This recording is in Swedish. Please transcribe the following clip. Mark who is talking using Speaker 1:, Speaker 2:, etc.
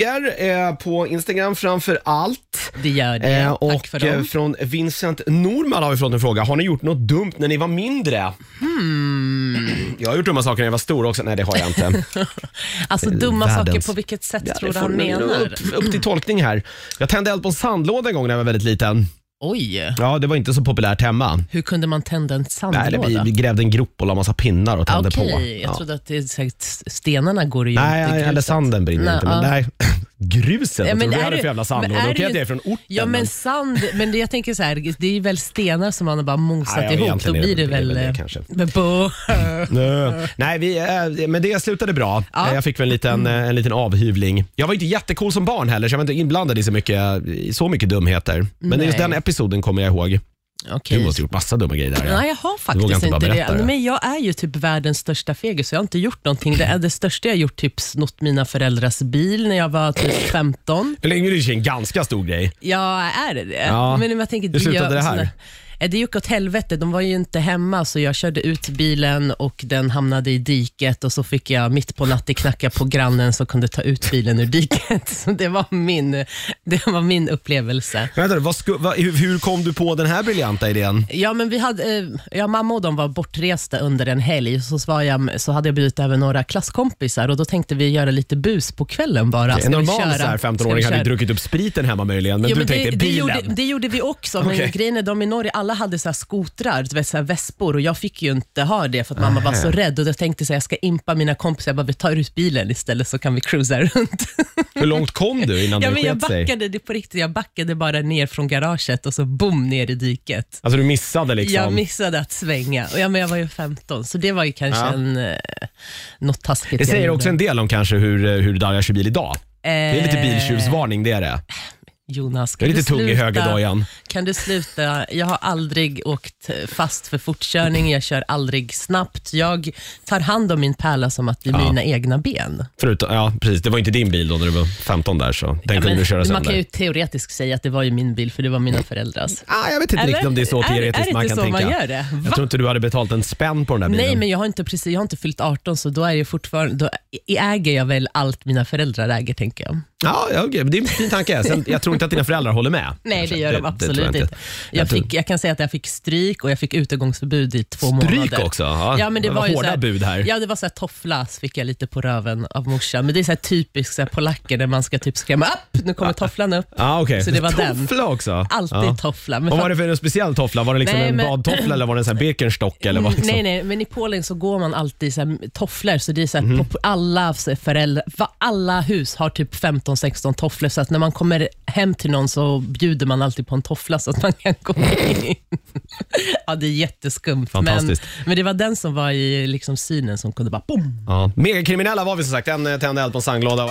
Speaker 1: frågor eh, på Instagram framför allt.
Speaker 2: Det gör det.
Speaker 1: Eh,
Speaker 2: Tack
Speaker 1: och
Speaker 2: för dem.
Speaker 1: eh, från Vincent Norman har vi fått en fråga. Har ni gjort något dumt när ni var mindre?
Speaker 2: Mm.
Speaker 1: Jag har gjort dumma saker när jag var stor också. Nej, det har jag inte.
Speaker 2: Alltså dumma saker,
Speaker 1: världens-
Speaker 2: på vilket sätt
Speaker 1: Ja,
Speaker 2: tror
Speaker 1: det
Speaker 2: du
Speaker 1: får
Speaker 2: han
Speaker 1: du nog
Speaker 2: menar?
Speaker 1: Upp, upp till tolkning här. Jag tände eld på en sandlåda en gång när jag var väldigt liten.
Speaker 2: Oj,
Speaker 1: Ja, det var inte så populärt hemma.
Speaker 2: hur kunde man tända en
Speaker 1: Nej, det,
Speaker 2: sandlåda?
Speaker 1: vi, vi grävde en grop och la massa pinnar och
Speaker 2: Ah,
Speaker 1: tände
Speaker 2: Okej,
Speaker 1: på.
Speaker 2: jag
Speaker 1: Ja.
Speaker 2: trodde att det, är säkert stenarna går ju
Speaker 1: Nej,
Speaker 2: inte i
Speaker 1: nej, eller
Speaker 2: gruset.
Speaker 1: sanden brinner
Speaker 2: Nej,
Speaker 1: inte. Men
Speaker 2: ja.
Speaker 1: nej, gruset.
Speaker 2: ah. Ja,
Speaker 1: Jag
Speaker 2: men
Speaker 1: trodde vi
Speaker 2: är
Speaker 1: hade
Speaker 2: du-
Speaker 1: för jävla
Speaker 2: men
Speaker 1: sandlåda.
Speaker 2: är
Speaker 1: Okej
Speaker 2: du-
Speaker 1: att jag är från orten.
Speaker 2: Ja, men sand, men det, jag tänker så här, det är ju väl stenar som man har bara mosat
Speaker 1: Nej, ja,
Speaker 2: ihop. Då
Speaker 1: egentligen är
Speaker 2: blir
Speaker 1: det-
Speaker 2: det
Speaker 1: det är
Speaker 2: väl...
Speaker 1: väl det
Speaker 2: eh,
Speaker 1: kanske.
Speaker 2: men bo-
Speaker 1: Nö. Nej, vi, eh, men det slutade bra.
Speaker 2: Ja.
Speaker 1: Eh, Jag fick väl en liten, eh, en liten avhyvling. Jag var inte jättecool som barn heller, så jag var inte inblandad i så mycket, i så mycket dumheter. Men
Speaker 2: Nej.
Speaker 1: just den episoden kommer jag ihåg. Du
Speaker 2: Okej.
Speaker 1: måste ha gjort massa dumma grejer där. Ja.
Speaker 2: Nej, jag har
Speaker 1: vågar
Speaker 2: faktiskt
Speaker 1: inte bara
Speaker 2: inte
Speaker 1: berätta
Speaker 2: det.
Speaker 1: det.
Speaker 2: Men jag är ju typ världens största fegis, så jag har inte gjort någonting. Det, är det största jag har gjort typ snott mina föräldrars bil när jag var typ 15.
Speaker 1: Eller det är ju en ganska stor grej.
Speaker 2: Ja, är det det?
Speaker 1: Ja.
Speaker 2: Men jag tänker,
Speaker 1: Hur slutade
Speaker 2: gör
Speaker 1: det här?
Speaker 2: såna- Eh, Det gick åt helvete. De var ju inte hemma, så jag körde ut bilen och den hamnade i diket och så fick jag mitt på natten knacka på grannen som kunde ta ut bilen ur diket. Så det var min, det var min upplevelse.
Speaker 1: Vänta, vad sku, vad, hur, hur kom du på den här briljanta idén?
Speaker 2: Ja, men vi hade, eh, ja, mamma och de var bortresta under en helg, så, så, var jag, så hade jag bjudit över några klasskompisar och då tänkte vi göra lite bus på kvällen bara. Ska
Speaker 1: En
Speaker 2: vi
Speaker 1: normal
Speaker 2: köra?
Speaker 1: så här
Speaker 2: Ska
Speaker 1: 15-åring
Speaker 2: vi
Speaker 1: hade ju
Speaker 2: köra?
Speaker 1: druckit upp spriten hemma möjligen, men
Speaker 2: Ja,
Speaker 1: du
Speaker 2: men
Speaker 1: tänkte
Speaker 2: det, det,
Speaker 1: bilen.
Speaker 2: gjorde, det gjorde vi också, men
Speaker 1: Okej.
Speaker 2: grejen är de i Norge, alla hade så här skotrar, du vet, så här vespor och jag fick ju inte ha det för att mamma var så rädd och jag tänkte så här, jag ska impa mina kompisar, jag bara, vi tar ut bilen istället så kan vi cruisa runt.
Speaker 1: Hur långt kom du innan
Speaker 2: Ja,
Speaker 1: det
Speaker 2: men jag
Speaker 1: sket sig?
Speaker 2: backade det på riktigt, jag backade bara ner från garaget och så boom ner i diket.
Speaker 1: Alltså du missade liksom?
Speaker 2: Jag missade att svänga. Och ja, men jag var ju 15, så det var ju kanske
Speaker 1: Ja.
Speaker 2: en, eh, något taskigt
Speaker 1: Det
Speaker 2: jag
Speaker 1: säger
Speaker 2: gjorde.
Speaker 1: också en del om kanske hur, eh, hur Darja kör bil idag. Det är lite
Speaker 2: Eh,
Speaker 1: biltjuvsvarning det är det.
Speaker 2: Jonas, kan
Speaker 1: Jag är lite
Speaker 2: du
Speaker 1: tung i
Speaker 2: sluta-
Speaker 1: höger dag igen.
Speaker 2: Kan du sluta? Jag har aldrig åkt fast för fortkörning, jag kör aldrig snabbt. Jag tar hand om min pärla som att det är
Speaker 1: Ja.
Speaker 2: mina egna ben.
Speaker 1: Förutom, ja precis, det var inte din bil då när du var 15 där så den
Speaker 2: Ja,
Speaker 1: kunde
Speaker 2: men
Speaker 1: du köra
Speaker 2: man
Speaker 1: sönder.
Speaker 2: kan ju teoretiskt säga att det var ju min bil, för det var mina föräldrars.
Speaker 1: Ah, jag vet inte
Speaker 2: Eller?
Speaker 1: riktigt om det är så
Speaker 2: Är- är
Speaker 1: teoretiskt
Speaker 2: det
Speaker 1: man
Speaker 2: inte
Speaker 1: kan
Speaker 2: så
Speaker 1: tänka.
Speaker 2: man gör det?
Speaker 1: Jag
Speaker 2: Va?
Speaker 1: tror inte du hade betalt en spänn på den där bilen.
Speaker 2: Nej, men jag har, inte precis, jag har inte fyllt 18, så då, är jag fortfarande, då äger jag väl allt mina föräldrar äger, tänker jag.
Speaker 1: Ja, ja, okej, men det är en fin tanke. Sen, jag tror inte att dina föräldrar håller med.
Speaker 2: Nej, det
Speaker 1: Kanske.
Speaker 2: gör de
Speaker 1: det tror
Speaker 2: absolut
Speaker 1: jag
Speaker 2: inte. Jag,
Speaker 1: tror-
Speaker 2: fick, jag kan säga att jag fick stryk och jag fick utegångsförbud i två månader.
Speaker 1: Stryk också. Ja,
Speaker 2: Ja, men det var ju
Speaker 1: hårda
Speaker 2: så här,
Speaker 1: bud här.
Speaker 2: Ja, det var så här tofflas fick jag lite på röven av morsan. Men det är så här typiskt så här polacker där man ska typ skrämma upp, nu kommer tofflan upp.
Speaker 1: Ah, okay.
Speaker 2: Så det var den.
Speaker 1: Toffla också?
Speaker 2: Alltid
Speaker 1: Ja.
Speaker 2: toffla.
Speaker 1: Vad
Speaker 2: Men
Speaker 1: var det för en speciell toffla? Var det liksom
Speaker 2: Nej,
Speaker 1: en
Speaker 2: men- Mm,
Speaker 1: badtoffla eller var det en sån här Birkenstock? Eller vad, liksom?
Speaker 2: Nej, nej, men i Polen så går man alltid i så här tofflor, så det är så
Speaker 1: Mhm.
Speaker 2: här, pop- alla föräldrar, va- alla hus har typ 15-16 tofflor, så att när man kommer hem till någon så bjuder man alltid på en toffla så att man kan gå in. ja, det är jätteskumt, men,
Speaker 1: Fantastiskt.
Speaker 2: men det var den som var i liksom synen som kunde bara boom.
Speaker 1: Ja. Megakriminella var vi som sagt. En eh, tände eld på en sandlåda och